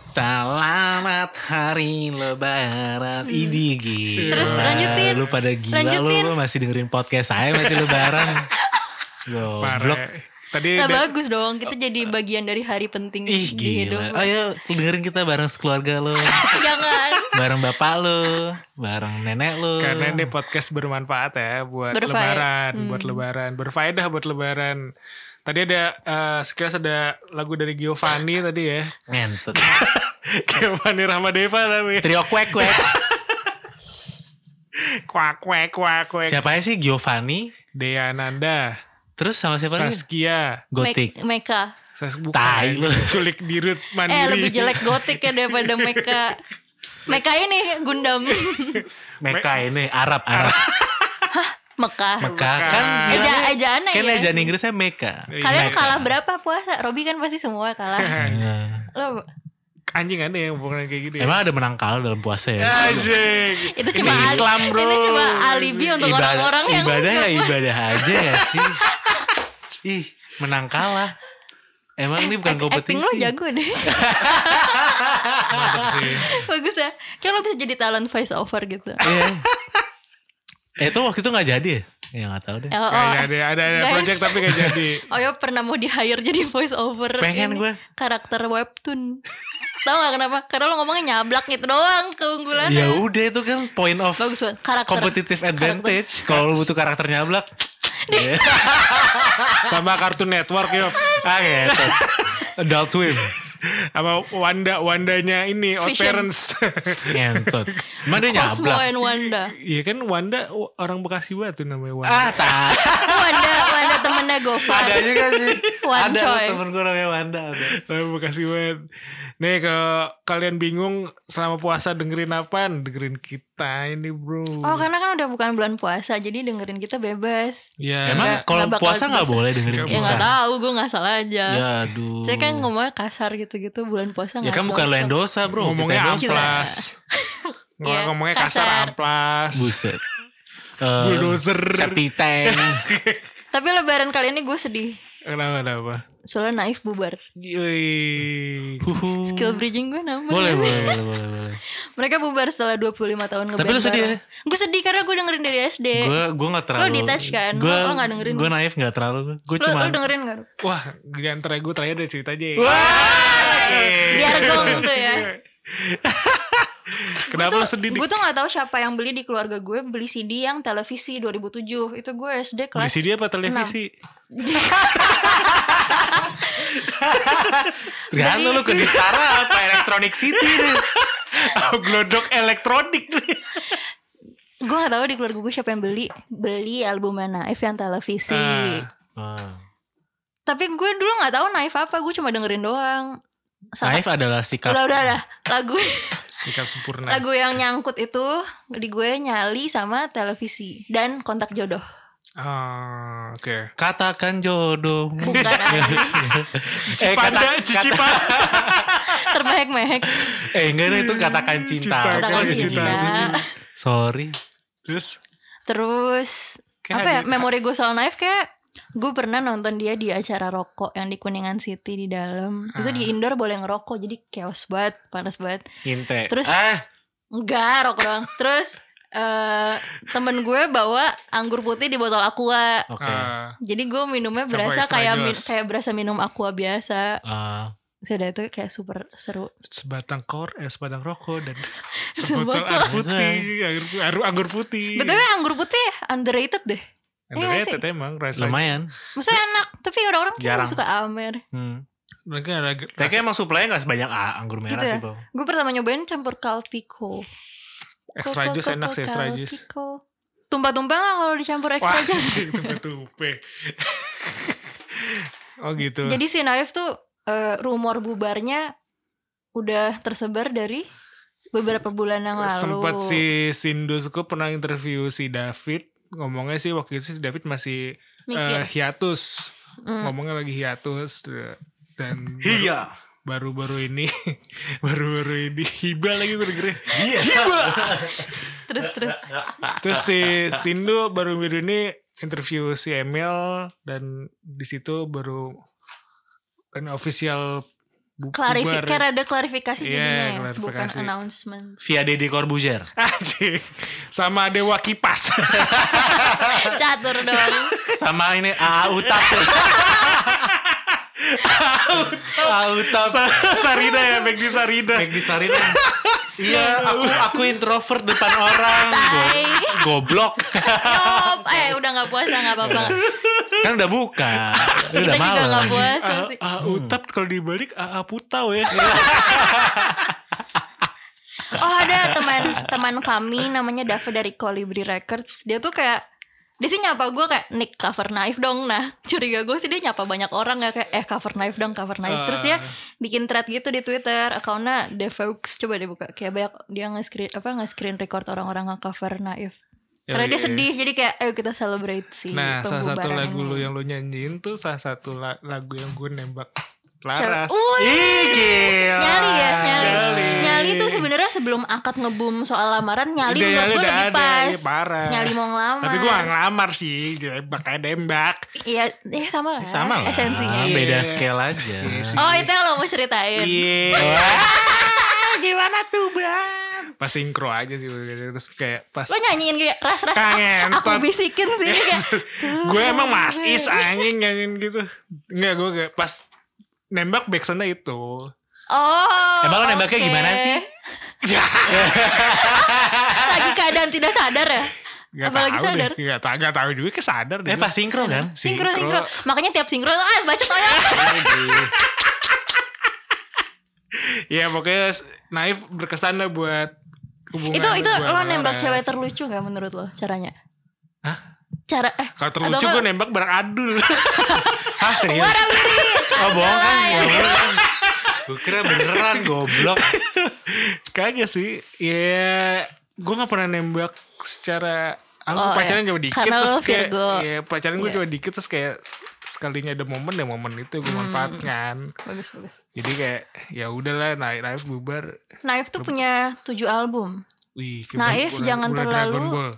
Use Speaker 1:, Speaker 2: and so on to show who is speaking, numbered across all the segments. Speaker 1: Selamat hari lebaran Idi gila.
Speaker 2: Hmm. Terus lanjutin.
Speaker 1: Lu pada gila
Speaker 2: Lanjutin.
Speaker 1: lu, lu masih dengerin podcast saya masih lebaran. Goblok.
Speaker 3: Parah. Tadi
Speaker 2: Nah,
Speaker 3: da-
Speaker 2: bagus dong. Kita jadi bagian dari hari penting
Speaker 1: Iya, Oh. Ih
Speaker 2: di hidup.
Speaker 1: gila. Ayo dengerin kita bareng sekeluarga lu.
Speaker 2: Jangan.
Speaker 1: bareng bapak lu, bareng nenek lu.
Speaker 3: karena ini podcast bermanfaat ya buat
Speaker 2: Berfaedah.
Speaker 3: lebaran,
Speaker 2: Hmm.
Speaker 3: buat lebaran, berfaedah buat lebaran. Tadi ada eh, sekilas ada lagu dari Giovanni tadi ya.
Speaker 1: ngentut.
Speaker 3: Giovanni Ramadeva tapi
Speaker 1: Trio kuek kuek.
Speaker 3: kuak kuak kuak kuak.
Speaker 1: Siapa sih Giovanni?
Speaker 3: Dea Nanda,
Speaker 1: Terus sama siapa lagi?
Speaker 3: Saskia,
Speaker 1: Gotik. Kan
Speaker 2: Me- Meka.
Speaker 3: Sas
Speaker 1: Tai lu.
Speaker 3: bukan culik dirut mandiri.
Speaker 2: Eh lebih jelek gotik ya daripada Meka. Meka ini Gundam.
Speaker 1: Meka ini Arab Arab.
Speaker 2: Meka.
Speaker 1: Meka kan
Speaker 2: Eja,
Speaker 1: bilangnya-
Speaker 2: ejaan
Speaker 1: kan
Speaker 2: aja.
Speaker 1: ejaan Inggrisnya Meka.
Speaker 3: Iya.
Speaker 2: Kalian kalah berapa puasa? Robi kan pasti semua kalah. Lo
Speaker 3: Anjing ada yang hubungan kayak gitu
Speaker 1: Iya.
Speaker 3: ya.
Speaker 1: Emang ada menangkal dalam puasa ya?
Speaker 2: Iya,
Speaker 3: Anjing.
Speaker 2: itu
Speaker 3: Ini
Speaker 2: cuma al-
Speaker 3: Islam bro.
Speaker 2: Itu cuma alibi untuk orang-orang yang
Speaker 1: ibadah ya ibadah aja ya sih. Ih, menang kalah. Emang ini bukan kompetisi.
Speaker 2: Eh, acting lo jago deh.
Speaker 3: Mantap Gitu sih.
Speaker 2: bagus ya. Kayak lo bisa jadi talent voice over gitu.
Speaker 1: Iya. Eh, itu waktu itu nggak jadi ya? Ya nggak tahu deh.
Speaker 2: Eh, oh,
Speaker 3: Kayaknya ada ada ada
Speaker 2: Guys.
Speaker 3: project tapi gak jadi.
Speaker 2: Oh ya pernah mau di hire jadi voice over
Speaker 1: Pengen
Speaker 2: ini,
Speaker 1: gue.
Speaker 2: Karakter webtoon Tau gak kenapa? Karena lo ngomongnya nyablak gitu doang Keunggulannya
Speaker 1: Ya udah itu kan point of
Speaker 2: Bagus banget Karakter
Speaker 1: competitive advantage. Kalau lu butuh karakter nyablak. Iya.
Speaker 3: Sama Cartoon Network yuk.
Speaker 1: ah, gitu. Adult Swim.
Speaker 3: Sama Wanda Wandanya ini Odd
Speaker 2: Vision.
Speaker 3: Parents.
Speaker 1: Ngentut. Emang dia
Speaker 2: Cosmo
Speaker 1: nyablak.
Speaker 2: ya. and Wanda
Speaker 3: Iya kan Wanda w- orang Bekasi banget tuh namanya Wanda.
Speaker 1: Ah, tak.
Speaker 2: Oh, Wanda Wanda temennya Gofar
Speaker 1: Ada juga sih.
Speaker 2: Wan
Speaker 1: ada
Speaker 2: Choi.
Speaker 1: temen gue namanya Wanda. Ada.
Speaker 3: Orang Bekasi banget. Nih kalau kalian bingung selama puasa dengerin apaan? Dengerin kita ini bro.
Speaker 2: Oh karena kan udah bukan bulan puasa Jadi dengerin kita bebas
Speaker 3: Ya.
Speaker 1: Emang
Speaker 2: Nggak-
Speaker 1: kalau
Speaker 2: nggak bakal
Speaker 1: puasa nggak
Speaker 2: bisa.
Speaker 1: boleh dengerin
Speaker 2: Ya
Speaker 1: kita.
Speaker 2: gak tahu gue gak salah aja
Speaker 1: Ya aduh.
Speaker 2: Saya kan ngomongnya kasar gitu-gitu Bulan puasa
Speaker 1: Ya
Speaker 2: nggak
Speaker 1: kan bukan lo
Speaker 2: cocok.
Speaker 1: yang dosa bro. Oh, Kita
Speaker 3: ngomongnya
Speaker 1: yang dosa.
Speaker 3: amplas.
Speaker 2: Iya,
Speaker 3: ngomongnya kasar,
Speaker 2: kasar.
Speaker 3: amplas.
Speaker 1: Buset.
Speaker 3: Bulldozer.
Speaker 1: Septi tank.
Speaker 2: Tapi lebaran kali ini gue sedih
Speaker 3: Kenapa kenapa?
Speaker 2: Soalnya naif bubar
Speaker 3: Yoi.
Speaker 1: Huhu.
Speaker 2: Skill bridging gue
Speaker 1: Uhuh. Hmm.
Speaker 2: nambah
Speaker 1: Boleh, boleh, boleh, boleh, boleh.
Speaker 2: Mereka bubar setelah 25 tahun ngeband
Speaker 1: lu sedih ya?
Speaker 2: Gue sedih karena gue dengerin dari SD.
Speaker 1: Gue gue nggak terlalu.
Speaker 2: detach Eh, kan? Lo-
Speaker 1: Gue
Speaker 2: lo nggak dengerin?
Speaker 1: Gue naif nggak terlalu. Gue
Speaker 2: lu,
Speaker 1: cuma.
Speaker 2: lu dengerin gak? Rup?
Speaker 3: Wah, di antara gue terakhir ada cerita aja.
Speaker 2: Biar gong tuh ya.
Speaker 3: Kenapa lo sedih? Dik?
Speaker 2: Gue tuh gak tahu siapa yang beli di keluarga gue beli CD yang televisi 2007. Itu gue SD
Speaker 3: Di
Speaker 2: kelas.
Speaker 3: sini apa televisi?
Speaker 1: Tergantung lu ke Distara apa Electronic City deh.
Speaker 3: Oh, glodok elektronik nih.
Speaker 2: Gue gak tahu di keluarga gue siapa yang beli beli album Naif yang televisi.
Speaker 3: Ah.
Speaker 1: Ah.
Speaker 2: Tapi gue dulu gak tahu Naif apa. Gue cuma dengerin doang. Sama-
Speaker 1: Naif adalah sikap.
Speaker 2: Udah udah udah lagu
Speaker 3: Sikap sempurna.
Speaker 2: lagu yang nyangkut itu di gue nyali sama televisi dan kontak jodoh
Speaker 3: Ah, oke.
Speaker 1: Katakan jodohmu.
Speaker 2: bukan anjing.
Speaker 1: eh, kata,
Speaker 3: Cicipanda, cicipanda.
Speaker 2: termehek-mehek
Speaker 1: eh enggak deh, itu katakan cinta.
Speaker 3: Cinta,
Speaker 1: Apa
Speaker 2: katakan
Speaker 1: gitu?
Speaker 2: cinta.
Speaker 1: Sorry.
Speaker 3: Terus
Speaker 2: terus
Speaker 3: Kayak
Speaker 2: apa ya
Speaker 3: ada-
Speaker 2: memori gue soal Naif kayak gue pernah nonton dia di acara rokok yang di Kuningan City di dalam itu
Speaker 3: Ah.
Speaker 2: di indoor boleh ngerokok jadi chaos banget panas banget
Speaker 1: Inte.
Speaker 2: Terus-
Speaker 1: Ah,
Speaker 2: enggak rokok doang terus eh temen gue bawa anggur putih di botol aqua
Speaker 1: oke.
Speaker 3: ah,
Speaker 2: jadi gue minumnya
Speaker 3: Sama
Speaker 2: berasa
Speaker 3: extra
Speaker 2: kayak min-
Speaker 3: juice.
Speaker 2: kayak berasa minum aqua biasa
Speaker 1: Ah.
Speaker 2: sudah itu kayak super seru
Speaker 3: sebatang kor, eh, sebatang rokok dan
Speaker 2: Sebotol.
Speaker 3: sebotol anggur putih,
Speaker 1: Nah.
Speaker 3: anggur, anggur- anggur putih.
Speaker 2: btw anggur putih ya? underrated deh Iya
Speaker 3: Underrated emang rasanya.
Speaker 1: lumayan.
Speaker 2: maksudnya enak tapi orang-orang tuh
Speaker 1: Jarang.
Speaker 2: suka amer
Speaker 1: Hmm.
Speaker 3: Mereka ada rasa-
Speaker 1: Kayaknya emang suplainya gak sebanyak ah, anggur merah
Speaker 2: Gitu ya?
Speaker 1: sih bang.
Speaker 2: Gue pertama nyobain campur kalpiko.
Speaker 3: extra
Speaker 2: Koko-
Speaker 3: juice
Speaker 2: koko
Speaker 3: enak sih extra juice.
Speaker 2: kalpiko. Tumpah-tumpah nggak kalau dicampur extra
Speaker 3: Wah,
Speaker 2: juice?
Speaker 3: tupe-tupe. oh gitu.
Speaker 2: Jadi si Naif tuh eh, rumor bubarnya udah tersebar dari beberapa bulan yang lalu.
Speaker 3: Sempat si Sindusku pernah interview si David ngomongnya sih waktu itu si David masih eh,
Speaker 2: Mikir.
Speaker 3: hiatus
Speaker 2: Hmm.
Speaker 3: ngomongnya lagi hiatus eh, dan
Speaker 1: Iya.
Speaker 3: baru-baru ini baru-baru ini hiba lagi gue dengernya.
Speaker 1: Iya.
Speaker 2: terus terus.
Speaker 3: terus si Sindu baru-baru ini interview si Emil dan di situ baru an official bu-
Speaker 2: Klarifikasi,
Speaker 3: bubar.
Speaker 2: kayak ada klarifikasi
Speaker 3: Iya,
Speaker 2: jadinya ya, bukan
Speaker 3: klarifikasi.
Speaker 2: announcement.
Speaker 1: Via Deddy Corbuzier.
Speaker 3: Anjing. sama Dewa Kipas.
Speaker 2: Catur dong.
Speaker 1: Sama ini AA Utap. AA Utap.
Speaker 3: Sarida ya, back di Sarida.
Speaker 1: Back di Sarina. Iya, aku aku introvert depan orang. Go-
Speaker 2: Tai.
Speaker 1: Goblok.
Speaker 2: Yop. Eh, udah nggak puasa nggak apa-apa.
Speaker 1: Kan udah buka.
Speaker 2: Kita
Speaker 1: Udah
Speaker 2: juga
Speaker 1: malam.
Speaker 2: nggak puasa
Speaker 3: A,
Speaker 2: sih.
Speaker 3: A Ah, Utap kalau dibalik A, A Putau ya.
Speaker 2: Oh ada teman teman kami namanya Dava dari Colibri Records. Dia tuh kayak dia sih nyapa gue kayak Nick cover knife dong Nah curiga gue sih dia nyapa banyak orang gak kayak Eh cover knife dong cover knife Terus
Speaker 3: Ah.
Speaker 2: dia bikin thread gitu di Twitter Akunnya The Folks Coba deh buka Kayak banyak dia nge-screen Apa nge-screen record orang-orang nge-cover knife Karena dia
Speaker 3: Yoi.
Speaker 2: sedih Jadi kayak ayo kita celebrate sih
Speaker 3: Oh, Iya. Nah, salah satu
Speaker 2: pembubaran
Speaker 3: lagu
Speaker 2: ini.
Speaker 3: lu yang lu nyanyiin tuh salah satu la- lagu yang gue nembak
Speaker 2: Cewek- Uh,
Speaker 3: Laras.
Speaker 2: Wih,
Speaker 1: Ih, gila.
Speaker 2: Nyali ya nyali
Speaker 3: Nyali.
Speaker 2: Nyali, tuh sebenarnya sebelum akad ngebum soal lamaran Nyali
Speaker 3: Udah,
Speaker 2: menurut
Speaker 3: nyali
Speaker 2: gue
Speaker 3: udah
Speaker 2: lebih
Speaker 3: ada,
Speaker 2: pas
Speaker 3: iya, parah.
Speaker 2: Nyali mau ngelamar
Speaker 3: Tapi gue gak ngelamar sih, nembak kayak nembak.
Speaker 2: Iya, eh, sama lah.
Speaker 1: Sama lah.
Speaker 2: Esensinya.
Speaker 1: Beda
Speaker 3: Iya.
Speaker 1: scale aja.
Speaker 2: Oh, itu yang lo mau ceritain.
Speaker 3: Iya.
Speaker 1: Gimana tuh, Bang?
Speaker 3: pas sinkro aja sih terus kayak pas
Speaker 2: Lo nyanyiin kayak ras ras.
Speaker 3: Kangen,
Speaker 2: Aku
Speaker 3: tot.
Speaker 2: bisikin sini kayak.
Speaker 3: gue emang mas is anjing nyanyiin gitu nggak gue kayak pas nembak backsoundnya itu
Speaker 2: Oh.
Speaker 1: Emang lo nembaknya
Speaker 2: oke.
Speaker 1: gimana sih?
Speaker 2: Lagi keadaan tidak sadar ya.
Speaker 3: nggak
Speaker 2: Apalagi
Speaker 3: tahu
Speaker 2: sadar.
Speaker 3: deh. nggak tahu nggak tahu juga kayak sadar deh
Speaker 1: Eh, pas sinkro kan?
Speaker 2: Sinkro sinkro. Makanya tiap sinkro ah baca tanya.
Speaker 3: ya pokoknya s- naif berkesan lah buat hubungan
Speaker 2: itu itu
Speaker 3: gua
Speaker 2: lo
Speaker 3: sama
Speaker 2: nembak
Speaker 3: Laras.
Speaker 2: cewek terlucu gak menurut lo caranya?
Speaker 3: Hah?
Speaker 2: Cara eh
Speaker 3: kalau terlucu
Speaker 2: atau
Speaker 3: gue nembak bareng adul
Speaker 1: Hah, serius?
Speaker 2: What a minute.
Speaker 1: Oh, bohong kan?
Speaker 2: Anjay.
Speaker 1: Ya, bohong. Gue kira beneran goblok.
Speaker 3: kagak sih ya gue nggak pernah nembak secara aku
Speaker 2: Oh,
Speaker 3: pacaran
Speaker 2: iya.
Speaker 3: cuma dikit
Speaker 2: Karena
Speaker 3: terus
Speaker 2: lo
Speaker 3: kayak
Speaker 2: Virgo.
Speaker 3: ya pacaran gue
Speaker 2: Iya.
Speaker 3: cuma dikit terus kayak sekalinya ada momen ya momen itu gue
Speaker 2: Hmm.
Speaker 3: manfaatkan
Speaker 2: Bagus bagus.
Speaker 3: jadi kayak ya udahlah naik naif bubar
Speaker 2: Naif tuh punya tujuh album.
Speaker 3: Wih, kayak
Speaker 2: Naif
Speaker 3: bola-
Speaker 2: jangan
Speaker 3: bola
Speaker 2: terlalu
Speaker 3: Dragon Ball.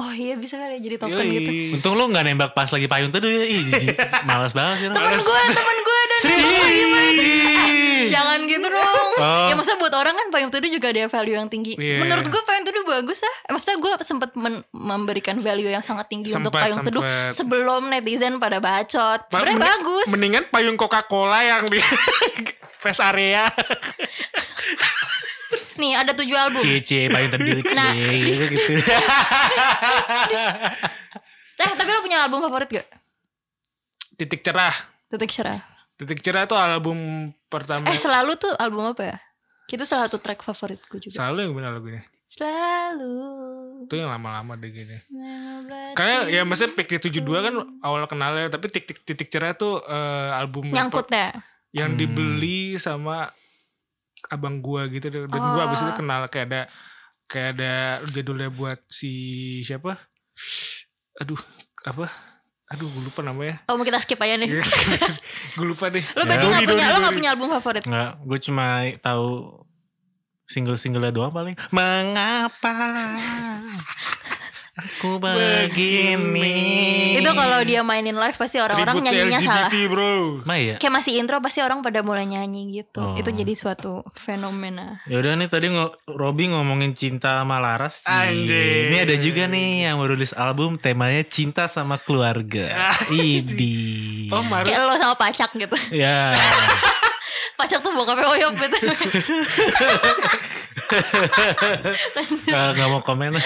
Speaker 2: Oh iya bisa kali ya jadi token
Speaker 3: Yoi.
Speaker 2: gitu.
Speaker 1: Untung lo gak nembak pas lagi payung teduh ya. Ih, jijik. Males banget sih. lo.
Speaker 2: temen gue temen gue dan
Speaker 1: Serius?
Speaker 2: jangan gitu dong
Speaker 1: Oh.
Speaker 2: ya maksudnya buat orang kan payung teduh juga ada value yang tinggi
Speaker 3: Iya.
Speaker 2: menurut gue payung teduh bagus lah Eh, maksudnya gue sempat men- memberikan value yang sangat tinggi untuk
Speaker 3: Sempat,
Speaker 2: payung teduh
Speaker 3: sempat.
Speaker 2: sebelum netizen pada bacot
Speaker 3: Ma-
Speaker 2: sebenarnya
Speaker 3: mending-
Speaker 2: bagus
Speaker 3: Mendingan payung Coca-Cola yang di rest area.
Speaker 2: nih ada tujuh album
Speaker 1: Cici, E payung teduh, cie.
Speaker 2: Nah,
Speaker 1: Gitu, gitu.
Speaker 2: eh tapi lo punya album favorit gak
Speaker 3: Titik cerah.
Speaker 2: Titik Cerah
Speaker 3: Titik cerah itu album pertama.
Speaker 2: eh selalu tuh album apa ya itu salah satu track favorit gue juga
Speaker 3: Selalu yang benar lagunya.
Speaker 2: selalu
Speaker 3: Itu yang lama-lama deh gini.
Speaker 2: mengobati-
Speaker 3: Karena ya maksudnya Pikri 72 kan awal kenalnya. Tapi titik, titik cerah tuh eh, album per-
Speaker 2: nyangkutnya
Speaker 3: yang
Speaker 1: Hmm.
Speaker 3: dibeli sama abang gua gitu. deh. Dan gua abis itu
Speaker 2: Oh.
Speaker 3: kenal kayak ada kayak ada jadulnya buat si siapa? Aduh, apa? Aduh, gue lupa namanya.
Speaker 2: oh mau kita skip aja nih
Speaker 3: gue lupa deh.
Speaker 2: Lo berarti
Speaker 3: Dori,
Speaker 2: gak punya, lo
Speaker 3: Dori,
Speaker 2: gak
Speaker 3: Dori.
Speaker 2: punya album favorit?
Speaker 1: Nggak, gue cuma tahu single-singlenya doang paling. Mengapa aku begini?
Speaker 2: Itu kalau dia mainin live pasti orang-orang
Speaker 3: Tribute
Speaker 2: nyanyinya
Speaker 3: LGBT,
Speaker 2: salah.
Speaker 3: bro.
Speaker 1: Emang iya?
Speaker 2: Kayak masih intro pasti orang pada mulai nyanyi gitu.
Speaker 1: Oh.
Speaker 2: Itu jadi suatu fenomena.
Speaker 1: Yaudah Ya nih tadi ngo Robby ngomongin cinta sama Laras nih.
Speaker 3: Anjing.
Speaker 1: Ini ada juga nih yang baru rilis album temanya cinta sama keluarga. Idi.
Speaker 3: Oh, Maru.
Speaker 2: Kayak lo sama Pacak gitu.
Speaker 1: Ya.
Speaker 2: Pacak tuh bokapnya Oyop gitu.
Speaker 1: Eh, nggak mau komen.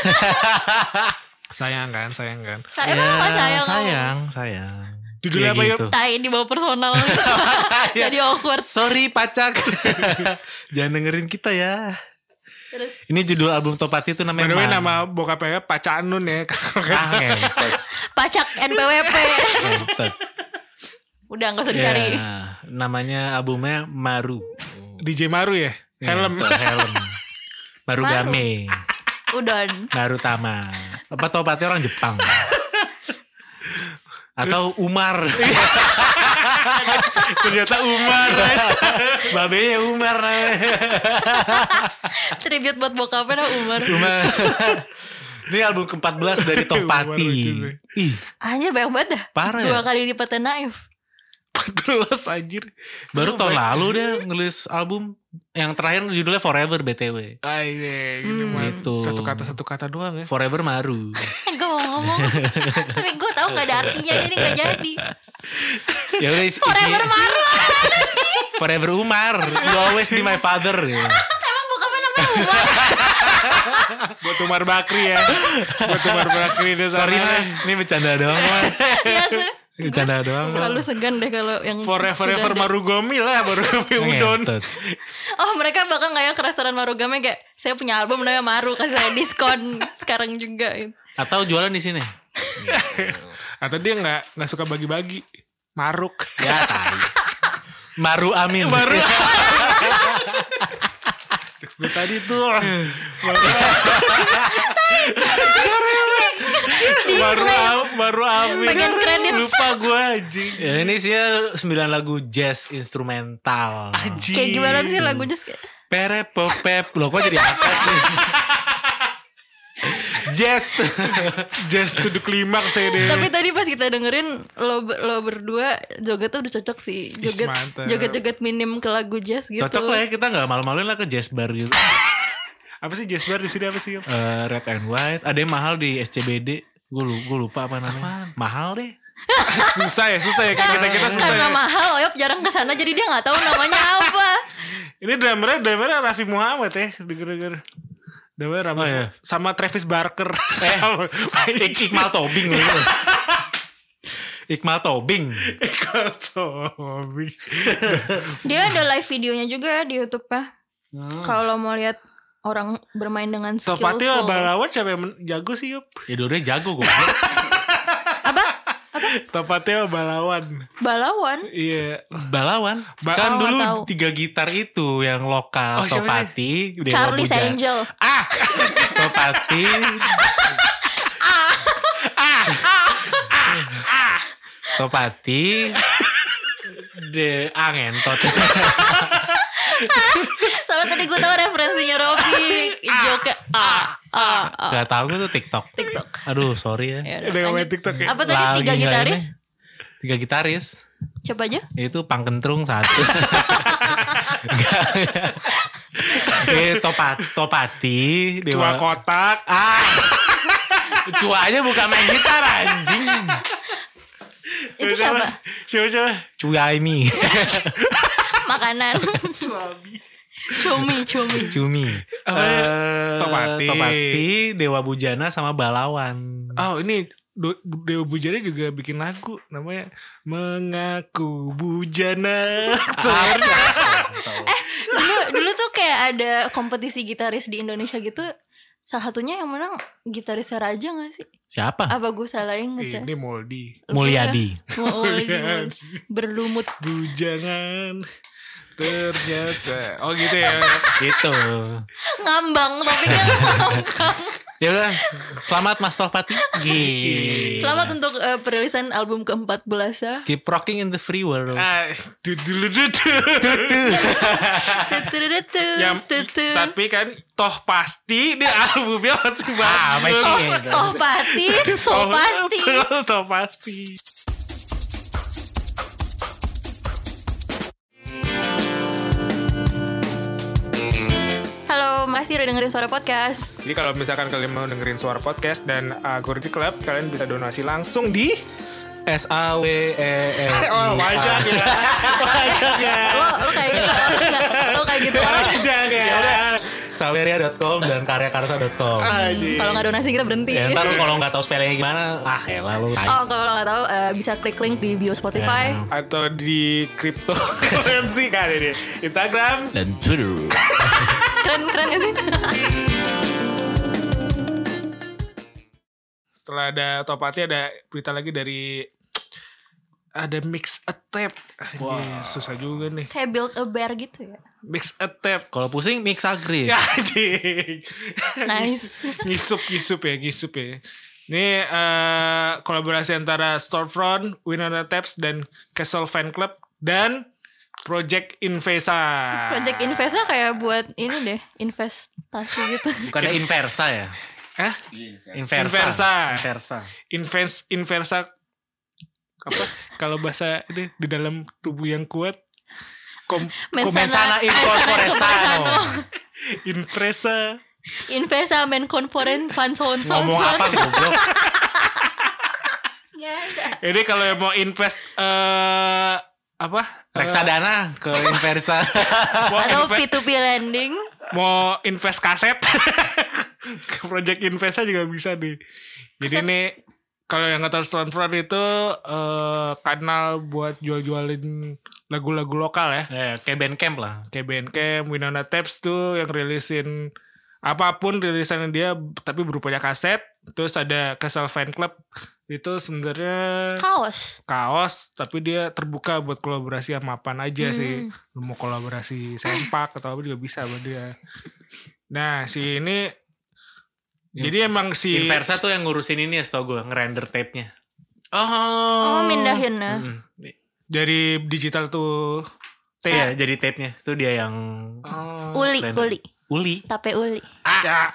Speaker 3: Sayang kan, sayang kan.
Speaker 2: Saya emang
Speaker 1: Ya,
Speaker 2: apa sayang?
Speaker 1: sayang, sayang. gitu.
Speaker 3: Judulnya apa, Yop?
Speaker 2: Tai di bawah personal gitu.
Speaker 1: Iya.
Speaker 2: jadi awkward.
Speaker 1: Ya. Sorry pacak. Jangan dengerin kita ya.
Speaker 2: Terus
Speaker 1: Ini judul album Topati itu
Speaker 3: By
Speaker 1: namanya.
Speaker 3: the way,
Speaker 1: Mang.
Speaker 3: nama bokapnya Pak Canun ya.
Speaker 1: Ah,
Speaker 3: Kalau kata-
Speaker 1: ngentot,
Speaker 2: Pacak NPWP.
Speaker 1: ngentot.
Speaker 2: Udah gak usah
Speaker 1: Ya,
Speaker 2: dicari.
Speaker 1: namanya albumnya Maru.
Speaker 3: DJ Maru ya? Helm.
Speaker 1: Ngentot, Helm. Maru
Speaker 2: Maru.
Speaker 1: Game.
Speaker 2: Udon.
Speaker 1: Maru Tama. Apa Topati orang Jepang? Atau Umar.
Speaker 3: Ternyata Umar.
Speaker 1: Babenya ya Umar namanya.
Speaker 2: Tribute buat bokapnya nah Umar.
Speaker 1: Umar. Ini album ke-14 dari Topati.
Speaker 3: Baru juga.
Speaker 1: Ih,
Speaker 2: Anjir banyak banget dah.
Speaker 1: parah ya.
Speaker 2: Dua kali lipatnya naif.
Speaker 3: 14 anjir. ya?
Speaker 1: Baru
Speaker 3: Gila,
Speaker 1: tahun
Speaker 3: banyak.
Speaker 1: lalu dia ngelis album yang terakhir judulnya Forever BTW.
Speaker 3: Ah, iya, gitu,
Speaker 2: Hmm.
Speaker 3: Man.
Speaker 1: Gitu.
Speaker 3: Satu kata satu kata doang ya.
Speaker 1: Forever Maru.
Speaker 2: Eh gue mau ngomong. Tapi gue tau gak ada artinya jadi gak jadi.
Speaker 1: Iya. ya udah isi,
Speaker 2: Forever
Speaker 1: isinya
Speaker 2: Maru.
Speaker 1: Forever Umar. You always be my father. Ya.
Speaker 2: Emang bukannya namanya Umar.
Speaker 3: Buat Umar Bakri ya. Buat Umar Bakri dia sana.
Speaker 1: Sorry mas, ini bercanda doang mas.
Speaker 2: Iya tuh.
Speaker 1: Bercanda doang.
Speaker 2: Selalu segan deh kalau yang
Speaker 3: Forever
Speaker 2: sudah
Speaker 3: ever
Speaker 2: ada.
Speaker 3: Marugomi lah Marugomi Udon.
Speaker 1: Ngentot.
Speaker 2: Oh mereka bakal nggak ya ke restoran Marugame kayak saya punya album namanya Maru kasih saya diskon sekarang juga. gitu.
Speaker 1: Atau jualan di sini.
Speaker 3: Atau dia nggak nggak suka bagi-bagi. Maruk.
Speaker 1: Ya tai. Maru Amin.
Speaker 3: Maru. Gue tadi tuh baru am- baru amin
Speaker 2: Pengen kredit.
Speaker 3: lupa gue anjing
Speaker 1: Ya, ini sih 9 lagu jazz instrumental.
Speaker 3: Anjing.
Speaker 2: Kayak gimana sih lagunya?
Speaker 1: Pere popep. Loh kok jadi apa sih? jazz.
Speaker 3: Just to the climax ya saya deh.
Speaker 2: Tapi tadi pas kita dengerin lo lo berdua joget tuh udah cocok sih.
Speaker 3: Is,
Speaker 2: Joget
Speaker 3: mantap.
Speaker 2: joget joget minim ke lagu jazz gitu.
Speaker 1: Cocok lah ya kita nggak malu-maluin lah ke jazz bar gitu.
Speaker 3: Apa sih jazz bar di sini apa sih? Yop?
Speaker 1: Eh, red and white. Ada yang mahal di SCBD. Gue lupa apa namanya. Mahal deh.
Speaker 3: susah ya, susah ya kayak kita kita susah.
Speaker 2: Kan Karena
Speaker 3: Ya.
Speaker 2: mahal, Oyop jarang kesana jadi dia nggak tahu namanya apa.
Speaker 3: Ini drummernya drummernya Raffi Muhammad ya, denger-denger. Drummernya Raffi
Speaker 1: Oh, iya.
Speaker 3: sama Travis Barker.
Speaker 1: Eh, Ik Iqmal Tobing gitu. Iqmal Tobing.
Speaker 3: Kotobi.
Speaker 2: Dia ada live videonya juga di YouTube ya. Kalau mau lihat orang bermain dengan
Speaker 3: Topati
Speaker 2: skillful.
Speaker 3: balawan siapa yang men- jago sih Yop?
Speaker 1: Ya dua-duanya jago gue.
Speaker 2: Apa?
Speaker 3: Topati balawan.
Speaker 2: Balawan?
Speaker 3: Iya.
Speaker 1: Balawan.
Speaker 3: Ba-
Speaker 1: kan
Speaker 2: Oh,
Speaker 1: dulu
Speaker 2: tahu.
Speaker 1: tiga gitar itu yang lokal
Speaker 3: Oh, siapa
Speaker 1: Topati, Dewa
Speaker 2: Charlie
Speaker 1: Buja-
Speaker 2: Angel.
Speaker 1: Ah, Topati. Topati. De ah, angentot.
Speaker 2: Soalnya tadi gue tahu referensinya Robi. Joke ah ah ah.
Speaker 1: Gak tau gue tuh TikTok.
Speaker 2: TikTok.
Speaker 1: Aduh, sorry ya.
Speaker 2: Ya udah,
Speaker 3: Udah ngomongin
Speaker 2: lanjut.
Speaker 3: TikTok ya.
Speaker 2: Apa tadi
Speaker 1: Lagi
Speaker 2: tiga
Speaker 1: nggak
Speaker 2: gitaris?
Speaker 1: ini. Tiga gitaris.
Speaker 2: Coba aja.
Speaker 1: Itu pangkentrung satu. Eh, topat, topati.
Speaker 3: Cua
Speaker 1: Dewa-
Speaker 3: kotak.
Speaker 1: Ah. Cuanya bukan main gitar anjing.
Speaker 2: Itu siapa?
Speaker 3: Siapa siapa?
Speaker 1: Cuyaimi.
Speaker 2: Makanan. Cumi, cumi.
Speaker 1: Cumi.
Speaker 3: Apa ya?
Speaker 1: Eh,
Speaker 3: Topati.
Speaker 1: Topati, Dewa Bujana sama Balawan.
Speaker 3: Oh ini Do- Dewa Bujana juga bikin lagu namanya Mengaku Bujana.
Speaker 2: Dulu, dulu tuh kayak ada kompetisi gitaris di Indonesia gitu. Salah satunya yang menang gitaris Raja gak sih?
Speaker 1: Siapa?
Speaker 2: Apa gue salah inget ya?
Speaker 3: ini Moldi.
Speaker 2: Lupa
Speaker 1: Mulyadi.
Speaker 2: ya? Mau- mau-
Speaker 1: Iya.
Speaker 2: mau- Berlumut.
Speaker 3: Bujangan ternyata. Oh gitu ya.
Speaker 1: gitu.
Speaker 2: Ngambang topiknya ngambang.
Speaker 1: Ya udah, selamat Mas Topati. Gila.
Speaker 3: Iya.
Speaker 2: Selamat untuk eh, perilisan album ke-14 ya.
Speaker 1: Keep rocking in the free world.
Speaker 3: Ah, du- du- du- du- du.
Speaker 1: Ya.
Speaker 2: Tuturutu,
Speaker 3: Yang-
Speaker 2: tutu.
Speaker 3: tapi kan toh pasti dia albumnya masih
Speaker 1: Ah, apa
Speaker 3: bagus.
Speaker 1: sih?
Speaker 2: Oh pasti, so
Speaker 1: Oh,
Speaker 3: Toh-
Speaker 2: pasti.
Speaker 3: toh- Toh pasti.
Speaker 2: Halo, masih udah dengerin suara podcast.
Speaker 3: Jadi kalau misalkan kalian mau dengerin suara podcast dan uh, Gordy Club, kalian bisa donasi langsung di
Speaker 1: S A W E L. I A.
Speaker 3: Oh, wajah ya. Wajah ya.
Speaker 2: Lo lo kayak gitu orang enggak? Lo kayak gitu orang.
Speaker 3: Wajah ya.
Speaker 1: Saweria.com dan karyakarsa.com.
Speaker 2: Hmm, Kalau nggak donasi kita berhenti.
Speaker 1: Ya, ntar lu kalau nggak tahu spellingnya gimana, ah elah lu.
Speaker 2: Oh, kalau lo nggak tahu eh, bisa klik link di bio Spotify.
Speaker 1: Ya.
Speaker 3: Atau di cryptocurrency kan ini. Instagram.
Speaker 1: Dan Twitter.
Speaker 2: Keren keren gak sih?
Speaker 3: Setelah ada Topati ada berita lagi dari ada mix a tape. Anjir, susah juga nih.
Speaker 2: kayak build a bear gitu ya.
Speaker 3: Mix a tape.
Speaker 1: Kalau pusing mix agree.
Speaker 3: Ya, anjing.
Speaker 2: Nice.
Speaker 3: ngisup ngisup ya ngisup ya ini eh, kolaborasi antara Storefront, Winona Taps dan Castle Fan Club dan Project Invesa.
Speaker 2: Project Investa kayak buat ini deh, investasi gitu.
Speaker 1: Bukannya inversa ya?
Speaker 3: Hah?
Speaker 1: Inversa.
Speaker 3: Inversa.
Speaker 1: Inversa.
Speaker 3: Invers inversa apa? Kalau bahasa ini di dalam tubuh yang kuat kom
Speaker 1: Comensana in corpore sano.
Speaker 3: inversa
Speaker 2: Invesa men corporen fanson
Speaker 1: Ngomong apa goblok?
Speaker 3: Ini kalau yang mau invest eh apa? Eh,
Speaker 1: Reksadana ke inversa.
Speaker 3: mau,
Speaker 2: Atau
Speaker 3: inve-
Speaker 2: P2P lending
Speaker 3: mau invest kaset ke project investa juga bisa nih. Jadi
Speaker 2: Kaset.
Speaker 3: nih kalau yang kata Stone Front itu eh kanal buat jual-jualin lagu-lagu lokal ya.
Speaker 1: Eh, kayak Bandcamp lah.
Speaker 3: Kayak Bandcamp, Winona Tapes tuh yang rilisin apapun rilisan dia tapi berupanya kaset. Terus ada Castle Fan Club itu sebenarnya
Speaker 2: Kaos
Speaker 3: kaos tapi dia terbuka buat kolaborasi sama apaan aja sih
Speaker 2: Hmm.
Speaker 3: Lu mau kolaborasi sempak atau apa juga bisa buat dia nah si ini jadi emang si
Speaker 1: Inversa tuh yang ngurusin ini ya setau gue, ngerender tape-nya.
Speaker 3: oh,
Speaker 2: Oh mindahin ya
Speaker 1: Mm-mm.
Speaker 3: dari digital tuh
Speaker 1: Iya, jadi tape-nya. Itu dia yang
Speaker 3: oh,
Speaker 2: Uli
Speaker 1: Hmm, Lending.
Speaker 2: Uli
Speaker 1: uli.
Speaker 2: Tape uli
Speaker 3: ya.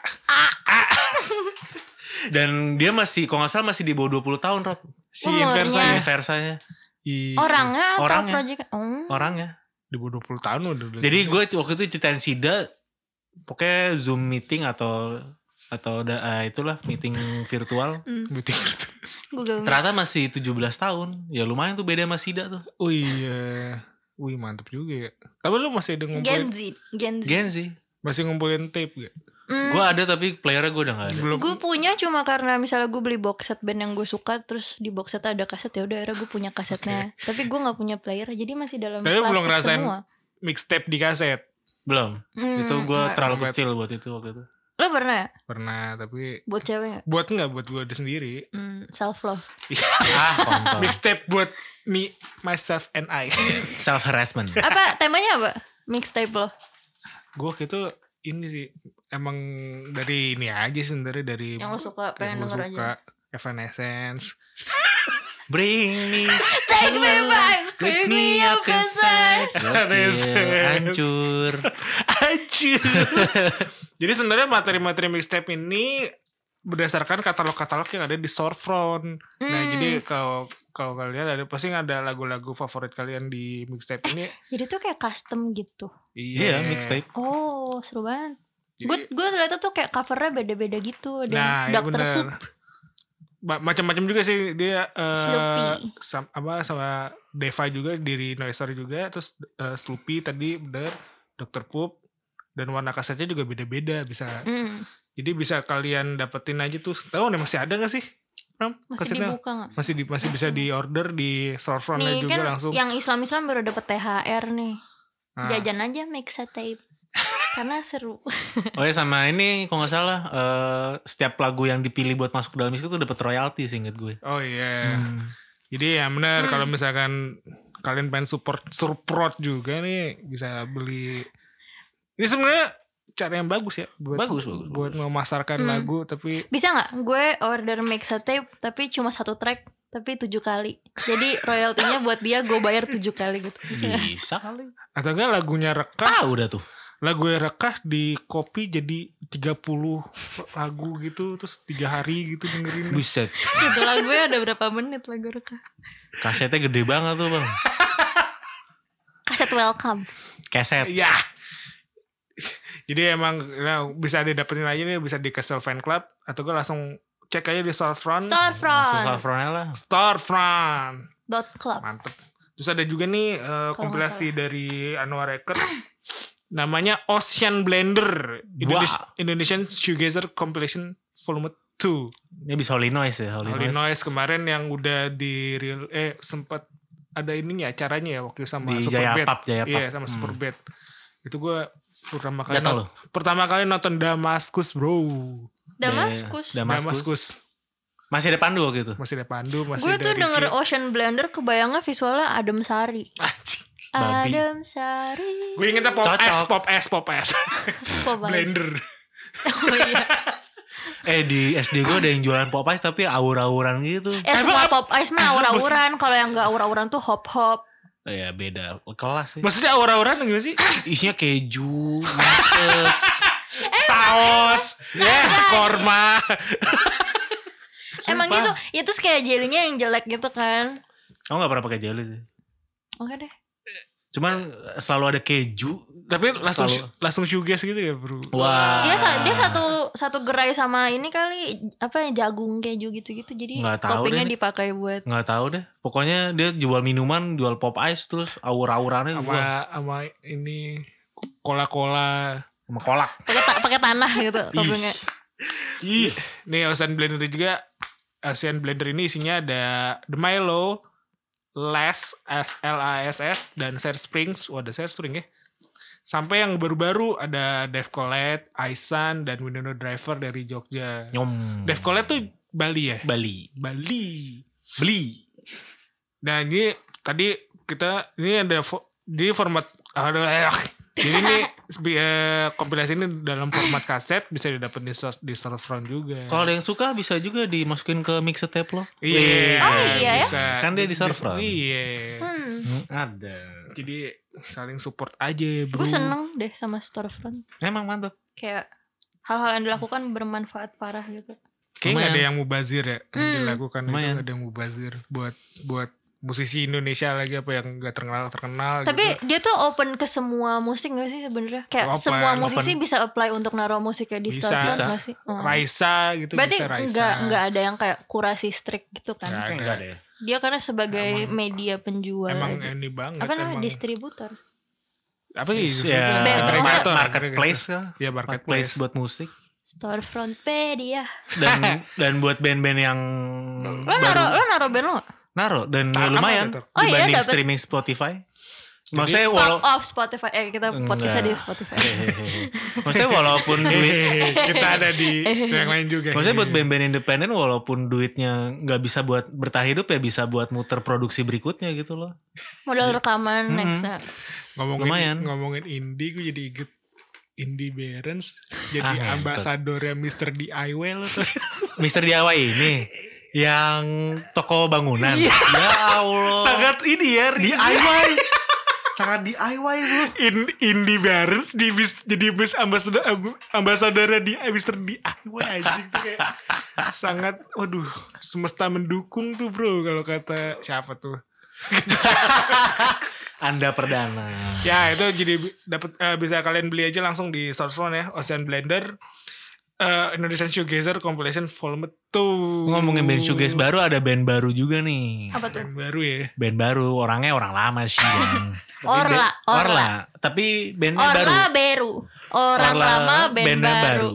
Speaker 1: Dan dia masih, kalau nggak salah masih di bawah 20 tahun, Rob.
Speaker 3: si ya.
Speaker 2: Umurnya.
Speaker 1: Si
Speaker 3: inversa
Speaker 2: Iya.
Speaker 1: Inversanya,
Speaker 2: Orangnya atau
Speaker 1: Iya. Orangnya.
Speaker 2: project Oh.
Speaker 1: orangnya.
Speaker 3: di bawah 20 tahun udah
Speaker 1: Jadi
Speaker 2: Iya.
Speaker 1: gue waktu itu ceritain Sida, pokoknya Zoom meeting atau atau da- eh, itulah meeting virtual.
Speaker 2: Hmm,
Speaker 3: Meeting.
Speaker 2: Google Meet.
Speaker 1: Ternyata masih 17 tahun. Ya lumayan tuh beda sama Sida tuh.
Speaker 3: oh iya Wih mantep juga ya. Tapi lu masih ada
Speaker 2: Gen
Speaker 3: ngumpulin
Speaker 2: Z Gen Z
Speaker 1: Gen sih.
Speaker 3: masih ngumpulin tape gak?
Speaker 2: Hmm.
Speaker 1: Gue ada tapi playernya gue udah gak ada.
Speaker 3: Belum.
Speaker 2: Gue punya cuma karena misalnya gue beli box set band yang gue suka terus di box set ada kaset ya udah akhirnya gue punya kasetnya. Tapi gue nggak punya player jadi masih dalam
Speaker 3: Tapi belum
Speaker 2: plastik
Speaker 3: ngerasain
Speaker 2: semua.
Speaker 3: mixtape di kaset.
Speaker 1: Belum.
Speaker 2: Hmm,
Speaker 1: itu gue
Speaker 2: nggak.
Speaker 1: terlalu
Speaker 3: Obat.
Speaker 1: kecil buat itu waktu itu.
Speaker 2: Lo pernah ya?
Speaker 3: Pernah tapi
Speaker 2: buat cewek nggak?
Speaker 3: buat nggak buat gue sendiri.
Speaker 2: Hmm, self love.
Speaker 1: ah, kontol.
Speaker 3: mixtape buat me myself and I
Speaker 1: Self harassment.
Speaker 2: Apa temanya apa? Mixtape lo.
Speaker 3: gue waktu itu ini sih emang dari ini aja sih sebenarnya dari
Speaker 2: Yang lo suka, pengen
Speaker 3: yang gua
Speaker 2: denger aja.
Speaker 3: Evanescence
Speaker 1: Bring me,
Speaker 2: Take me back,
Speaker 1: wake me up inside. Gokil, hancur.
Speaker 3: aja jadi sebenarnya materi-materi mixtape ini berdasarkan katalog-katalog yang ada di storefront nah
Speaker 2: Hmm.
Speaker 3: jadi kalau kalau kalian ada pasti ada lagu-lagu favorit kalian di mixtape ini
Speaker 2: Jadi tuh kayak custom gitu.
Speaker 1: Iya, mixtape.
Speaker 2: Oh, seru banget.
Speaker 3: Jadi-
Speaker 2: Gue gue ternyata tuh kayak covernya beda-beda gitu. Dan
Speaker 3: Nah, iya
Speaker 2: Dr.
Speaker 3: bener.
Speaker 2: Poop.
Speaker 3: Ba- macam-macam juga sih dia eh,
Speaker 2: Snoopy.
Speaker 3: sam- apa sama Deva juga diri Noiser juga terus eh, Snoopy tadi bener Dr. Poop dan warna kasetnya juga beda-beda bisa
Speaker 2: Hmm,
Speaker 3: jadi bisa kalian dapetin aja tuh tahu nih masih ada nggak sih Ram,
Speaker 2: masih
Speaker 3: kasetnya
Speaker 2: dibuka nggak?
Speaker 3: masih di- masih bisa di order di storefront
Speaker 2: Nih
Speaker 3: juga
Speaker 2: kan
Speaker 3: langsung
Speaker 2: yang Islam-Islam baru dapet THR nih.
Speaker 3: Nah,
Speaker 2: Jajan aja mixtape. Karena seru.
Speaker 1: Oh ya sama ini kalau nggak salah eh, setiap lagu yang dipilih buat masuk ke dalam itu tuh dapat royalti singkat gue.
Speaker 3: oh iya
Speaker 2: Hmm.
Speaker 3: Jadi ya benar kalau misalkan kalian pengen support support juga nih bisa beli. Ini sebenarnya cara yang bagus ya buat
Speaker 1: Bagus, bagus,
Speaker 3: buat memasarkan
Speaker 2: Hmm.
Speaker 3: lagu tapi
Speaker 2: Bisa nggak? Gue order mixtape tapi cuma satu track tapi tujuh kali. Jadi royaltinya buat dia gue bayar tujuh kali gitu.
Speaker 1: Bisa kali.
Speaker 3: atau enggak lagunya rekah,
Speaker 1: Tahu dah tuh.
Speaker 3: lagu rekah di copy jadi 30 lagu gitu terus tiga hari gitu dengerin.
Speaker 1: Buset.
Speaker 2: Setelah gue ada berapa menit lagu reka?
Speaker 1: Kasetnya gede banget tuh bang.
Speaker 2: Kaset welcome.
Speaker 1: Keset.
Speaker 3: Ya. Jadi emang ya, bisa didapetin aja nih bisa di Castle Fan Club atau enggak langsung cek aja di storefront.
Speaker 1: Langsung
Speaker 2: Storefront.
Speaker 1: covernya lah.
Speaker 3: storefront.
Speaker 2: Dot club.
Speaker 3: Mantep. Terus ada juga nih eh, kompilasi dari Anwar Record namanya Ocean Blender Indonesia, Indonesian Shoegazer Compilation Volume 2.
Speaker 1: Ini bisa Holy Noise ya. Holy,
Speaker 3: Holy Noise
Speaker 1: Noise.
Speaker 3: kemarin yang udah di real- eh sempat ada ininya acaranya ya waktu sama
Speaker 1: Di Jaya
Speaker 3: Superbad.
Speaker 1: Pub, Jaya Pub.
Speaker 3: Iya, sama
Speaker 1: Hmm.
Speaker 3: Superbad. Itu gue pertama kali
Speaker 1: Datang
Speaker 3: not-
Speaker 1: lo?
Speaker 3: pertama kali nonton Damaskus, Bro.
Speaker 2: Damaskus.
Speaker 1: Iya, Damaskus.
Speaker 3: Iya, Damaskus.
Speaker 1: Masih ada Pandu waktu itu.
Speaker 3: Masih ada Pandu, masih
Speaker 2: Gue
Speaker 3: ada
Speaker 2: tuh
Speaker 3: Ricky.
Speaker 2: denger Ocean Blender kebayangnya visualnya Adem Sari.
Speaker 3: Anjing.
Speaker 1: Babi.
Speaker 2: Adem Sari.
Speaker 3: Gue ingetnya pop
Speaker 1: Cocok.
Speaker 3: es, pop es, pop es.
Speaker 2: Kok banget?
Speaker 3: Blender.
Speaker 2: Oh, iya.
Speaker 1: Eh di SD gue ada yang jualan Popeyes tapi aur-auran gitu.
Speaker 2: Eh
Speaker 3: Emang
Speaker 2: semua
Speaker 3: apa-
Speaker 2: pop ice mah
Speaker 3: emang
Speaker 2: aura-auran Kalau yang gak aura-auran tuh hop-hop
Speaker 1: ya beda kelas sih.
Speaker 3: Maksudnya aura-aura gimana sih?
Speaker 1: Isinya keju, meses,
Speaker 3: Saus, ya, korma.
Speaker 2: Emang gitu, ya terus kayak jelinya yang jelek gitu kan.
Speaker 1: Aku nggak pernah pakai jelly sih.
Speaker 2: Oke deh.
Speaker 1: Cuman eh, selalu ada keju.
Speaker 3: Tapi langsung
Speaker 1: Selalu.
Speaker 3: langsung suges gitu ya, Bro.
Speaker 1: Wah.
Speaker 2: Dia sa- dia satu satu gerai sama ini kali apa ya jagung keju gitu-gitu. Jadi
Speaker 1: Nggak tahu
Speaker 2: toppingnya
Speaker 1: deh.
Speaker 2: dipakai buat
Speaker 1: nggak tahu deh. Pokoknya dia jual minuman, jual pop ice terus aur-aurannya
Speaker 3: Sama
Speaker 1: juga
Speaker 3: sama ini kola-kola.
Speaker 1: sama kolak.
Speaker 2: pakai ta- pakai tanah gitu toppingnya.
Speaker 3: Ih, nih Ocean Blender juga Ocean Blender ini isinya ada The Milo, Lass, S- L-A-S-S, dan Share Springs. Wah, ada Share Spring ya. Sampai yang baru-baru ada Dev Colette, Aisan, dan Window Driver dari Jogja.
Speaker 1: Nyom.
Speaker 3: Dev Colette tuh Bali ya?
Speaker 1: Bali.
Speaker 3: Bali.
Speaker 1: Beli.
Speaker 3: Nah ini tadi kita ini ada fo- di format aduh, eh, jadi ini sp- eh, kompilasi ini dalam format kaset bisa didapat di, store- di storefront juga.
Speaker 1: Kalau ada yang suka bisa juga dimasukin ke mixtape lo.
Speaker 3: Iya,
Speaker 2: Oh, iya ya?
Speaker 3: bisa.
Speaker 1: Kan dia di storefront.
Speaker 3: Iya.
Speaker 2: Hmm.
Speaker 1: Hmm, ada.
Speaker 3: Jadi saling support aja, Bro.
Speaker 2: Gue seneng deh sama storefront.
Speaker 1: Emang mantap.
Speaker 2: Kayak hal-hal yang dilakukan bermanfaat parah gitu.
Speaker 3: Kayaknya nggak ada
Speaker 1: Lumayan.
Speaker 3: yang mubazir ya yang
Speaker 2: Hmm.
Speaker 3: dilakukan itu
Speaker 1: Lumayan.
Speaker 3: nggak ada yang mubazir buat buat musisi Indonesia lagi apa yang nggak terkenal terkenal.
Speaker 2: Tapi
Speaker 3: gitu.
Speaker 2: dia tuh open ke semua musik gak sih sebenarnya? Kayak
Speaker 3: Open,
Speaker 2: semua musisi bisa apply untuk naruh musiknya di
Speaker 3: Bisa.
Speaker 2: storefront
Speaker 1: Bisa.
Speaker 2: gak sih? Oh.
Speaker 3: Raisa gitu
Speaker 2: Berarti
Speaker 3: bisa Raisa.
Speaker 2: nggak nggak ada yang kayak kurasi strict gitu kan?
Speaker 3: Nggak. Ada. ya?
Speaker 1: Enggak deh.
Speaker 2: Dia karena sebagai
Speaker 3: Emang-
Speaker 2: media penjual.
Speaker 3: Emang
Speaker 2: aja.
Speaker 3: ini banget.
Speaker 2: apa namanya
Speaker 3: emang.
Speaker 2: distributor?
Speaker 3: apa sih?
Speaker 1: Ya,
Speaker 2: Distributor.
Speaker 1: market-
Speaker 2: Distributor.
Speaker 1: marketplace kan. Marketplace
Speaker 3: Ya marketplace.
Speaker 1: buat musik
Speaker 2: Storefront pedia.
Speaker 1: dan dan buat band-band yang
Speaker 2: Lo naro lo naro band lo? nggak?
Speaker 1: naro dan
Speaker 3: Tanam
Speaker 1: lumayan
Speaker 3: Nah, ada, Tor.
Speaker 2: Oh, iya,
Speaker 1: dibanding
Speaker 2: dapet.
Speaker 1: streaming Spotify. Maksudnya walau
Speaker 2: Fuck off Spotify. Eh kita podcastnya di
Speaker 1: Enggak.
Speaker 2: Spotify.
Speaker 1: Hehehe. Maksudnya walaupun duit
Speaker 3: Hehehe, kita ada di yang lain juga. Iya.
Speaker 1: Maksudnya buat band-band independen walaupun duitnya nggak bisa buat bertahan hidup ya bisa buat muter produksi berikutnya gitu loh.
Speaker 3: Iya.
Speaker 2: Modal
Speaker 3: Mm-hmm.
Speaker 2: rekaman next. ya.
Speaker 3: ngomongin
Speaker 1: lumayan.
Speaker 3: ngomongin indie gue jadi inget Indie Barons
Speaker 1: Ah,
Speaker 3: jadi
Speaker 1: ngentot.
Speaker 3: ambasadornya Mr. DIY lo tuh.
Speaker 1: Mister DIY ini yang toko bangunan.
Speaker 3: Iya.
Speaker 1: Ya Allah.
Speaker 3: Sangat ini ya
Speaker 1: DIY. Sangat DIY lu.
Speaker 3: In, indie Barons di bis- jadi bis ambasador amb- ambasadornya di eh, Mr. DIY anjing tuh kayak sangat waduh semesta mendukung tuh bro kalau kata siapa tuh
Speaker 1: Anda perdana.
Speaker 3: Ya itu jadi bi- dapat eh, bisa kalian beli aja langsung di storefront ya Ocean Blender eh, Indonesian Shoegazer Compilation Volume 2
Speaker 1: Ngomongin band shoegaze baru ada band baru juga nih.
Speaker 2: Apa tuh?
Speaker 3: Band baru ya
Speaker 1: Band baru orangnya orang lama sih. Yang.
Speaker 2: Orla, Orla.
Speaker 1: Tapi bandnya baru.
Speaker 2: Orla baru. Orang
Speaker 1: Orla,
Speaker 2: lama band,
Speaker 1: bandnya
Speaker 2: baru.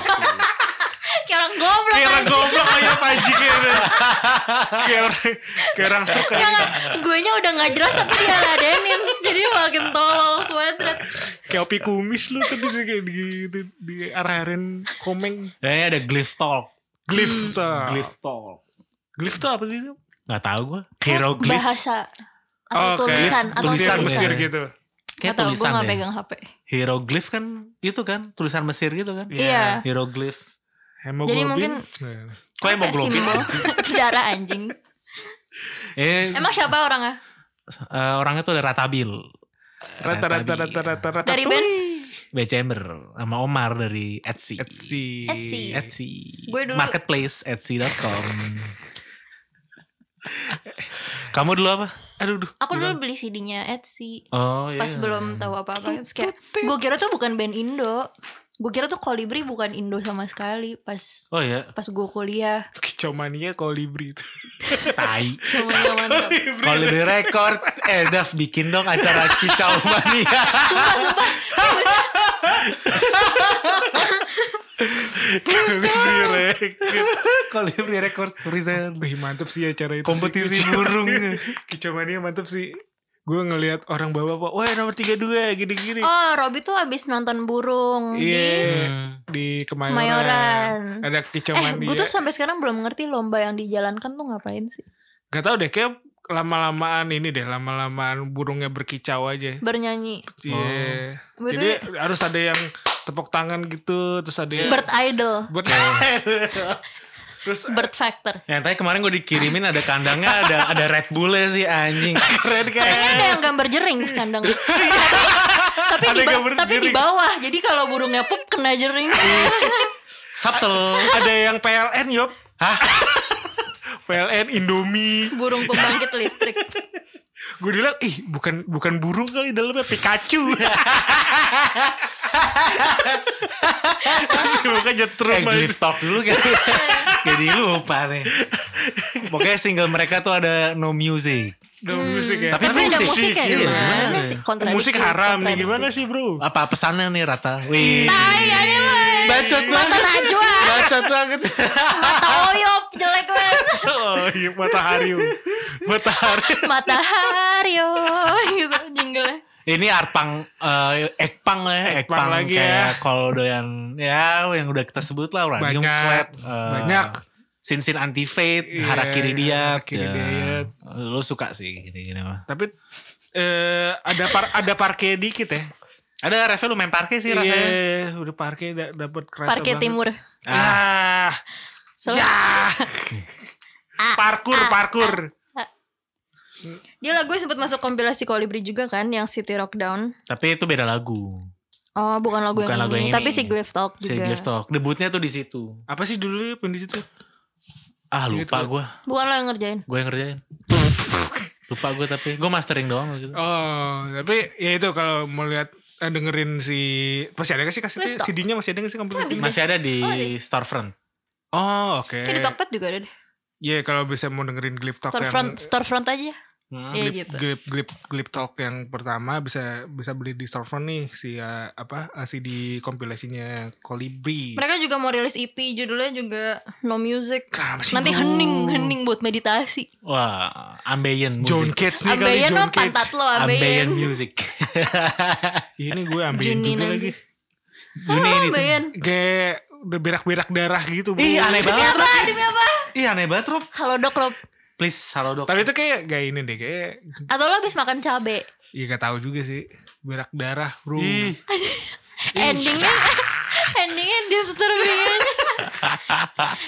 Speaker 2: Eh, Kayak orang goblok.
Speaker 3: Kayak orang
Speaker 2: anjing.
Speaker 3: goblok aja Paji kayak orang- kayak orang- kayak orang suka
Speaker 2: Jangan, gue nya udah gak jelas tapi dia ladenin Jadi makin tolol kuadrat
Speaker 3: Kayak opi kumis lu tadi dia kayak di, gitu di arahin komeng
Speaker 1: Dan ini ada Glyph Talk. Hmm.
Speaker 3: Glyph tuh Glyph.
Speaker 1: Talk.
Speaker 3: tuh apa sih?
Speaker 1: Gak tau gue. Hieroglyph.
Speaker 2: Bahasa Atau tulisan
Speaker 1: Oh,
Speaker 2: Atau
Speaker 1: Tulisan
Speaker 3: Ah, tulisan
Speaker 1: ya.
Speaker 3: Mesir gitu
Speaker 1: Kayak
Speaker 2: Atau gue
Speaker 1: tulisan
Speaker 2: gak
Speaker 1: ya.
Speaker 2: pegang HP
Speaker 1: Hieroglif kan gitu kan tulisan Mesir gitu kan
Speaker 2: Iya
Speaker 1: hieroglif
Speaker 3: Hemoglobin.
Speaker 2: Jadi mungkin-
Speaker 3: Nah.
Speaker 1: kok
Speaker 2: Apa,
Speaker 1: hemoglobin
Speaker 2: simbol? Darah anjing
Speaker 1: eh,
Speaker 2: Emang siapa orangnya?
Speaker 1: eh, orangnya tuh ada Ratabil
Speaker 3: rata-rata
Speaker 1: Ratabil.
Speaker 3: rata-rata rata
Speaker 2: Dari band?
Speaker 1: Becember sama Omar dari Etsy
Speaker 3: Etsy.
Speaker 2: Etsy.
Speaker 1: Etsy
Speaker 2: Gue dulu-
Speaker 1: marketplace Etsy.com kamu dulu apa
Speaker 3: Aduh, duh.
Speaker 2: Aku dulu beli CD-nya Etsy
Speaker 1: oh iya
Speaker 2: Pas belum tahu apa-apa Terus kayak Gue kira tuh bukan band Indo Gue kira tuh Kolibri bukan Indo sama sekali Pas
Speaker 1: oh iya
Speaker 2: pas gue kuliah
Speaker 3: Kicomania kolibri itu.
Speaker 1: tai
Speaker 2: Cuma mantap
Speaker 1: kalau beli records eh Dav bikin dong acara kicau mania
Speaker 2: Sumpah sumpah
Speaker 3: Kolibri record.
Speaker 1: kalau beli records present
Speaker 3: Wih, mantep sih acara itu.
Speaker 1: kompetisi
Speaker 3: sih.
Speaker 1: burung
Speaker 3: Kicomania mantep sih. Gue ngelihat orang bawa-bawa, wah nomor 32 gini-gini.
Speaker 2: Oh Robby tuh abis nonton burung Di
Speaker 3: Iya,
Speaker 1: Hmm.
Speaker 3: di Kemayoran.
Speaker 2: Kemayoran.
Speaker 3: Ada iya.
Speaker 2: Eh,
Speaker 3: Kicomania.
Speaker 2: gue tuh sampai sekarang belum ngerti lomba yang dijalankan tuh ngapain sih?
Speaker 3: Gak tau deh, kayak lama-lamaan ini deh, lama-lamaan burungnya berkicau aja.
Speaker 2: Bernyanyi.
Speaker 3: Iya.
Speaker 1: Oh.
Speaker 3: Jadi
Speaker 2: Berarti
Speaker 3: harus Iya. ada yang tepuk tangan gitu, terus ada
Speaker 1: Iya.
Speaker 3: yang
Speaker 2: Bird Idol.
Speaker 3: buat Terus
Speaker 2: Bird Factor.
Speaker 1: Yang tadi kemarin gue dikirimin ada kandangnya ada ada Red Bullnya sih anjing.
Speaker 3: keren
Speaker 1: Iya,
Speaker 3: kan?
Speaker 2: Kayaknya ada yang gambar jering di kandang. tapi tapi,
Speaker 3: Ada
Speaker 2: di, ba-
Speaker 3: gambar
Speaker 2: tapi di
Speaker 3: jering.
Speaker 2: bawah. Jadi kalau burungnya pup kena jering.
Speaker 1: Subtle.
Speaker 3: Ada yang PLN yop.
Speaker 1: Hah?
Speaker 3: PLN Indomie.
Speaker 2: burung pembangkit listrik.
Speaker 3: Gue bilang, ih bukan bukan burung kali dalamnya Pikachu. Masih muka nyetrum
Speaker 1: Eh,
Speaker 3: banget.
Speaker 1: Glyph Talk dulu kan. Jadi lupa nih. Pokoknya single mereka tuh ada No Music.
Speaker 3: Ada musik ya.
Speaker 1: Hmm. Tapi
Speaker 2: Tapi ada
Speaker 1: musik
Speaker 2: musik kayak
Speaker 1: iya,
Speaker 2: gimana,
Speaker 1: gimana?
Speaker 2: sih? Kontradiksi,
Speaker 3: Musik haram nih
Speaker 2: kontradiksi.
Speaker 3: gimana sih bro?
Speaker 1: Apa pesannya nih Rata? Wih.
Speaker 2: Tai aja lu.
Speaker 1: Bacot
Speaker 2: Mata
Speaker 1: banget.
Speaker 2: najwa.
Speaker 1: Bacot banget.
Speaker 2: Mata oyop. Jelek banget.
Speaker 3: Oh iya matahari. Om. Matahari.
Speaker 2: Matahari. yo. Gitu jingle
Speaker 1: Ini artpang eh ekpang lah ya,
Speaker 3: Ekpang
Speaker 1: ekpang
Speaker 3: lagi
Speaker 1: kayak
Speaker 3: ya.
Speaker 1: kalau doyan ya yang udah kita sebut lah Radium
Speaker 3: Banyak,
Speaker 1: Clap, eh,
Speaker 3: banyak.
Speaker 1: Sin Sin Anti Fate,
Speaker 3: Iya,
Speaker 1: Harakiri Diat,
Speaker 3: Harakiri
Speaker 1: ya.
Speaker 3: Diat.
Speaker 1: Lu suka sih gini gini mah.
Speaker 3: Tapi eh ada par ada parkir dikit ya.
Speaker 1: Ada Revel lu main parkir sih rasanya.
Speaker 3: Iya, udah parkir da dapat kerasa
Speaker 2: Parkir
Speaker 3: banget.
Speaker 2: timur. Ah.
Speaker 3: Ah,
Speaker 2: Soalnya
Speaker 3: ya. parkur,
Speaker 2: Ah.
Speaker 3: parkur.
Speaker 2: Dia lagu sempat masuk kompilasi Kolibri juga kan yang City Rockdown.
Speaker 1: Tapi itu beda lagu.
Speaker 2: Oh, bukan lagu,
Speaker 1: Bukan
Speaker 2: yang,
Speaker 1: lagu
Speaker 2: ini,
Speaker 1: yang
Speaker 2: tapi
Speaker 1: ini.
Speaker 2: si Glyph Talk
Speaker 1: Si
Speaker 2: juga.
Speaker 1: Glyph Talk. Debutnya tuh di situ.
Speaker 3: Apa sih dulu yang di situ?
Speaker 1: Ah
Speaker 3: Gitu.
Speaker 1: lupa gua.
Speaker 2: Bukan lo yang ngerjain.
Speaker 1: Gue yang ngerjain. lupa gue tapi gue mastering doang gitu.
Speaker 3: Oh, tapi ya itu kalau mau lihat eh, dengerin si masih ada gak sih kasetnya?
Speaker 2: Betul.
Speaker 3: CD-nya masih ada gak sih kompilasi?
Speaker 2: Habis.
Speaker 1: Masih ada di
Speaker 2: Oh, sih.
Speaker 1: Storefront.
Speaker 3: Oh, oke.
Speaker 2: Kayak di Tokped juga ada deh.
Speaker 3: Ya kalau bisa mau dengerin Glip Talk
Speaker 2: Storefront,
Speaker 3: yang
Speaker 2: storefront aja.
Speaker 1: Hmm.
Speaker 2: Iya
Speaker 3: Glip,
Speaker 2: gitu.
Speaker 3: Glip, Glip, Glip Talk yang pertama bisa bisa beli di Storefront nih si eh, apa eh, CD kompilasinya Kolibri.
Speaker 2: Mereka juga mau rilis EP judulnya juga No Music.
Speaker 3: Kenapa sih,
Speaker 2: Nanti
Speaker 3: Bro?
Speaker 2: hening, hening buat meditasi.
Speaker 1: Wah, ambient music.
Speaker 3: John Cage nih kali
Speaker 2: Ambeien
Speaker 3: John
Speaker 2: mah
Speaker 3: Cage.
Speaker 2: pantat lo,
Speaker 1: ambient
Speaker 2: ambeien.
Speaker 1: music.
Speaker 3: Ini gue ambilin
Speaker 2: Juni
Speaker 3: juga
Speaker 2: nanti. Ah,
Speaker 3: lagi.
Speaker 1: Juni ini. tuh.
Speaker 2: Ambeien.
Speaker 3: Kayak udah berak-berak darah gitu. Bu.
Speaker 1: Ih, aneh
Speaker 2: Demi
Speaker 1: banget.
Speaker 2: apa?
Speaker 1: Rob.
Speaker 2: Demi apa?
Speaker 1: Ih, aneh banget, Rob.
Speaker 2: Halo dok lo.
Speaker 1: Please, halo dok.
Speaker 3: Tapi itu kayak gak ini deh, kayak
Speaker 2: Atau lo habis makan cabe?
Speaker 3: ya gak tahu juga sih. Berak darah, bro.
Speaker 1: Ih,
Speaker 2: Endingnya, endingnya disturbing aja.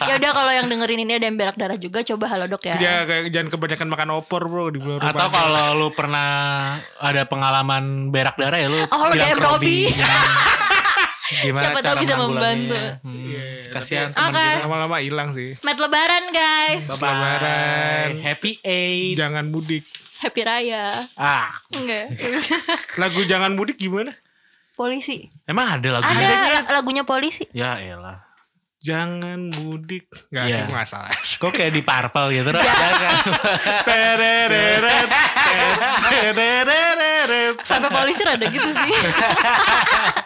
Speaker 2: ya udah kalau yang dengerin ini ada yang berak darah juga coba halo dok ya.
Speaker 3: Dia kayak jangan kebanyakan makan opor, bro. Di bulan
Speaker 1: atau
Speaker 3: Ramadan.
Speaker 1: kalau lu pernah ada pengalaman berak darah ya lu
Speaker 2: Oh, lu DM Robby.
Speaker 1: Gimana
Speaker 2: Siapa tahu
Speaker 1: cara
Speaker 2: bisa
Speaker 1: menanggulanginya.
Speaker 2: membantu.
Speaker 1: Hmm,
Speaker 3: Iya, iya,
Speaker 1: Kasihan
Speaker 3: tapi
Speaker 1: teman
Speaker 2: Oke.
Speaker 1: kita.
Speaker 3: lama-lama hilang sih.
Speaker 2: Mat lebaran guys.
Speaker 1: Bye-bye.
Speaker 3: Selamat.
Speaker 1: Happy Eight.
Speaker 3: Jangan mudik.
Speaker 2: Happy Raya.
Speaker 1: Ah,
Speaker 2: Enggak.
Speaker 3: Lagu jangan mudik gimana?
Speaker 2: polisi.
Speaker 1: emang ada lagu
Speaker 2: Ada la- lagunya polisi.
Speaker 1: Ya elah.
Speaker 3: Jangan mudik. Gak
Speaker 1: Iya.
Speaker 3: sih, gak salah.
Speaker 1: Kok kayak di purple gitu Rob? Jangan.
Speaker 3: Tereret, tereret, tereret.
Speaker 2: Sampai polisi rada gitu sih.